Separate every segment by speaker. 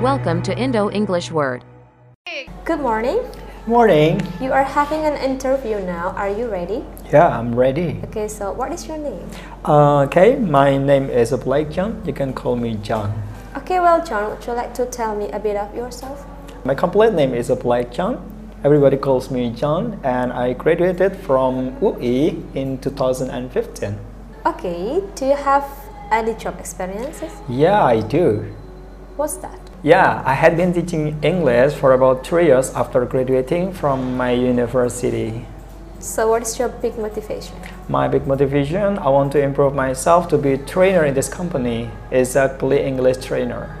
Speaker 1: Welcome to Indo English Word.
Speaker 2: Good morning.
Speaker 3: Morning.
Speaker 2: You are having an interview now. Are you ready?
Speaker 3: Yeah, I'm ready.
Speaker 2: Okay, so what is your name?
Speaker 3: Uh, okay, my name is Blake John. You can call me John.
Speaker 2: Okay, well, John, would you like to tell me a bit of yourself?
Speaker 3: My complete name is Blake John. Everybody calls me John, and I graduated from UI in 2015.
Speaker 2: Okay, do you have any job experiences?
Speaker 3: Yeah, I do.
Speaker 2: What's that?
Speaker 3: Yeah, I had been teaching English for about three years after graduating from my university.
Speaker 2: So, what is your big motivation?
Speaker 3: My big motivation, I want to improve myself to be a trainer in this company, exactly English trainer.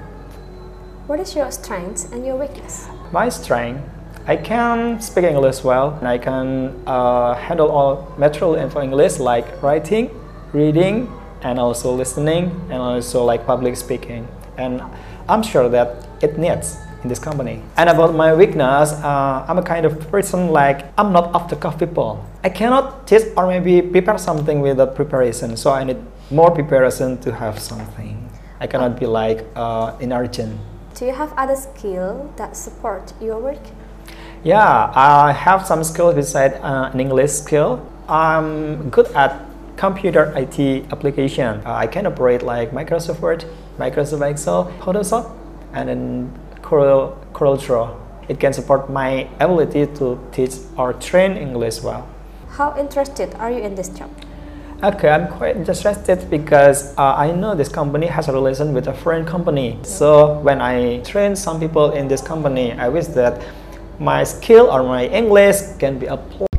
Speaker 2: What is your strength and your weakness?
Speaker 3: My strength, I can speak English well, and I can uh, handle all material in English like writing, reading, and also listening, and also like public speaking. And I'm sure that it needs in this company. And about my weakness, uh, I'm a kind of person like I'm not off the cuff people. I cannot teach or maybe prepare something without preparation, so I need more preparation to have something. I cannot be like uh, in urgent.
Speaker 2: Do you have other skill that support your work?
Speaker 3: Yeah, I have some skills beside uh, an English skill. I'm good at computer IT application. Uh, I can operate like Microsoft Word, Microsoft Excel, Photoshop, and then Corel, CorelDRAW. It can support my ability to teach or train English well.
Speaker 2: How interested are you in this job?
Speaker 3: Okay, I'm quite interested because uh, I know this company has a relation with a foreign company. So when I train some people in this company, I wish that my skill or my English can be applied.